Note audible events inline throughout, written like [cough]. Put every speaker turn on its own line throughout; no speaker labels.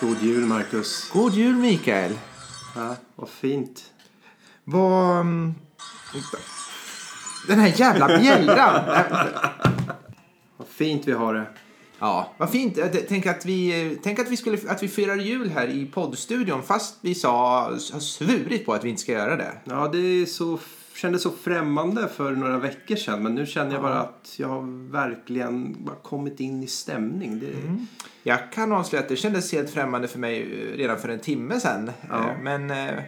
God jul, Marcus.
God jul Mikael!
Ja, vad fint.
Vad... mm, Den här jävla
[laughs]
bjällran!
Vad fint vi har det.
ja, vad fint. Jag t- Tänk att vi, eh, tänk att vi, skulle, att vi firar jul här i poddstudion fast vi sa, har svurit på att vi inte ska göra det.
Ja, det är så, kändes så främmande för några veckor sedan. Men nu känner jag bara att jag har verkligen bara kommit in i stämning. Det,
Jag kan avslöja att det kändes helt främmande för mig eh, redan för en timme sedan.
Ja.
Eh, Men, eh,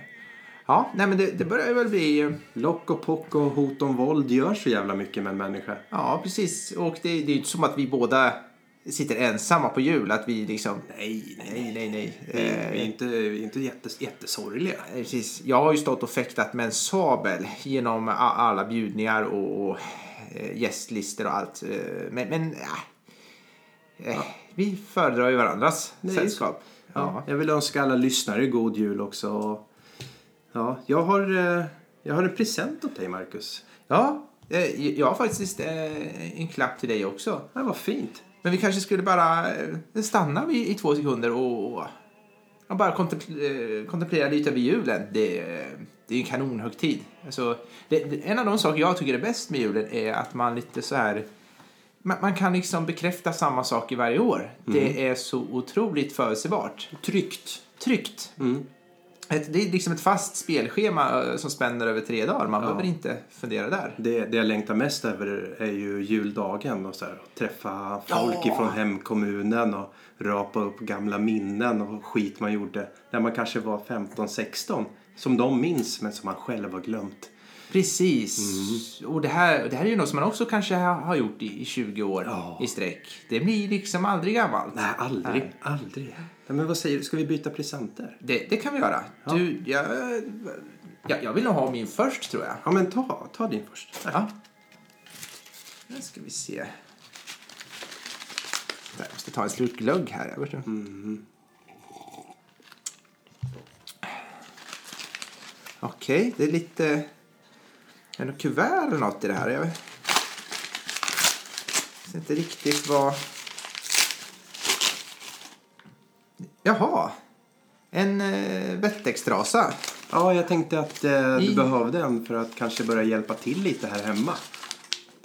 ja, nej men det, det börjar väl bli... eh,
Lock och pock och hot om våld gör så jävla mycket med en människa.
Ja, precis. Och det, det är ju inte som att vi båda sitter ensamma på jul. Att vi liksom...
Nej,
Nej, nej, nej.
Vi är
Eh,
inte, vi är inte jättes, jättesorgliga.
Precis. Jag har ju stått och fäktat med en sabel genom a- alla bjudningar och, och eh, gästlistor och allt. Eh, Men, men äh, eh, vi föredrar ju varandras
Nej.
sällskap. Ja.
Jag vill önska alla lyssnare god jul också. Och, ja, jag, har, eh, jag har en present åt dig, Marcus.
ja, eh, jag har faktiskt eh, en klapp till dig också.
Ja, vad fint.
Men vi kanske skulle bara eh, stanna vid- i två sekunder och, och ja, bara kontempl- eh, kontemplera lite över julen. Det, eh, det är ju en kanonhögtid. Alltså, det, det, en av de saker jag tycker är bäst med julen är att man lite så här... Man, man kan liksom bekräfta samma saker varje år. Det är så otroligt förutsägbart.
Tryggt.
Tryggt. Ett, det är liksom ett fast spelschema eh, som spänner över tre dagar. Man behöver inte fundera där.
Det, det jag längtar mest över är ju juldagen och så här, att träffa folk
Ja.
ifrån hemkommunen och rapa upp gamla minnen och skit man gjorde när man kanske var 15-16 som de minns men som man själv har glömt.
Precis.
Mm.
Och det här, det här är ju något som man också kanske har har gjort i i 20 år
Ja.
i sträck. Det blir liksom aldrig gammalt.
Nej, aldrig. Aldrig. Nej, men vad säger du, ska vi byta presenter?
Det, det kan vi göra. Du, jag, jag, jag vill nog ha min först tror jag.
Ja men ta, ta din först. Tack.
Ja. Nu ska vi se. Där, Jag måste ta en slurk glögg här. Mm. Jag vet inte. Okej, det är lite... Är det något kuvert eller något i det här? Jag vet jag vet inte riktigt vad... Jaha! En eh, bettextrasa.
Ja, jag tänkte att eh, du
I-
behövde en för att kanske börja hjälpa till lite här hemma.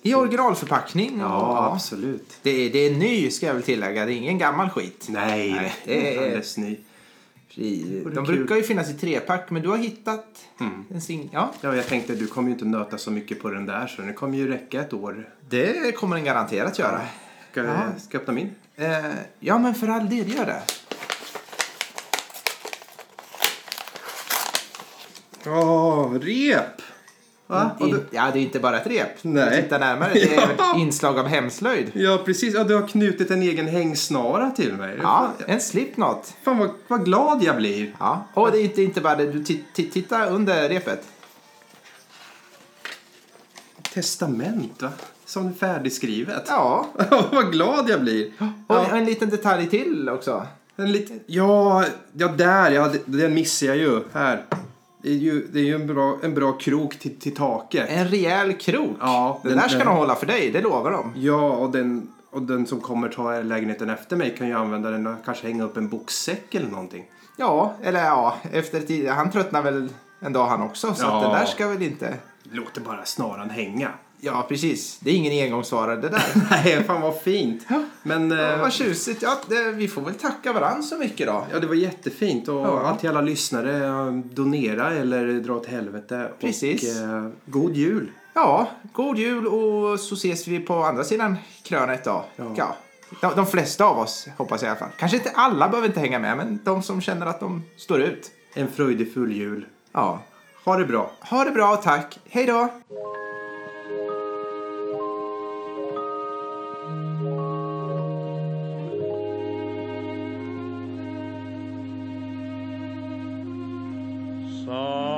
I originalförpackning. och-
Ja, absolut.
Det är, det är ny ska jag väl tillägga, det är ingen gammal skit.
Nej,
Nej,
det
det
är
är-
[laughs] alldeles ny.
Fri-
Och det är
De
kul. Mm.
brukar ju finnas i trepack men du har hittat en sing... Ja,
Ja, jag tänkte du kommer ju inte nöta så mycket på den där så den kommer ju räcka ett år.
det kommer den garanterat göra.
Ska,
Ja.
ska jag öppna min?
Eh, ja men för all del, gör det.
Ja, rep! Va? Och
Mm, In,
du,
Ja, det är inte bara ett rep.
Nej.
Titta närmare, det är
[laughs] Ja.
ett inslag av hemslöjd.
ja, precis. Ja, du har knutit en egen hängsnara till mig.
Ja,
Fan,
en slipknot.
fan vad, vad glad jag blir.
Ja. Och det är inte, inte bara det, du ti- ti- titta under repet.
Testament, va? Som färdigskrivet. [laughs]
Ja,
vad glad jag blir.
och en liten detalj till också.
En liten... Ja, ja där. Ja, det- den missar jag ju. Här. Det är ju, det är ju en, bra, en bra krok till, till taket.
En rejäl krok.
Ja,
den,
den-
där ska
den-
de hålla för dig, det lovar de.
Ja, och den, och den som kommer ta lägenheten efter mig kan ju använda den och kanske hänga upp en boxsäck eller någonting.
Ja, eller ja, efter tid, han tröttnar väl en dag han också. Så
Ja.
att den där ska väl inte...
Låter bara snaran hänga. [laughs]
Ja, precis. Det är ingen engångsvara det där.
Nej, fan vad fint.
Ja.
Men
ja,
eh,
vad tjusigt. Ja, det, vi får väl tacka varandra så mycket då.
ja, det var jättefint. Och
Ja.
ja. till alla lyssnare, eh, donera eller dra åt helvete.
Precis.
Och, eh, god jul.
Ja, god jul och så ses vi på andra sidan krönet då.
Ja.
Ja. De, de flesta av oss, hoppas jag i alla fall. Kanske inte alla behöver inte hänga med, men de som känner att de står ut.
En fröjdefull jul.
Ja.
Ha det bra.
Ha det bra, tack. Hej då!
Some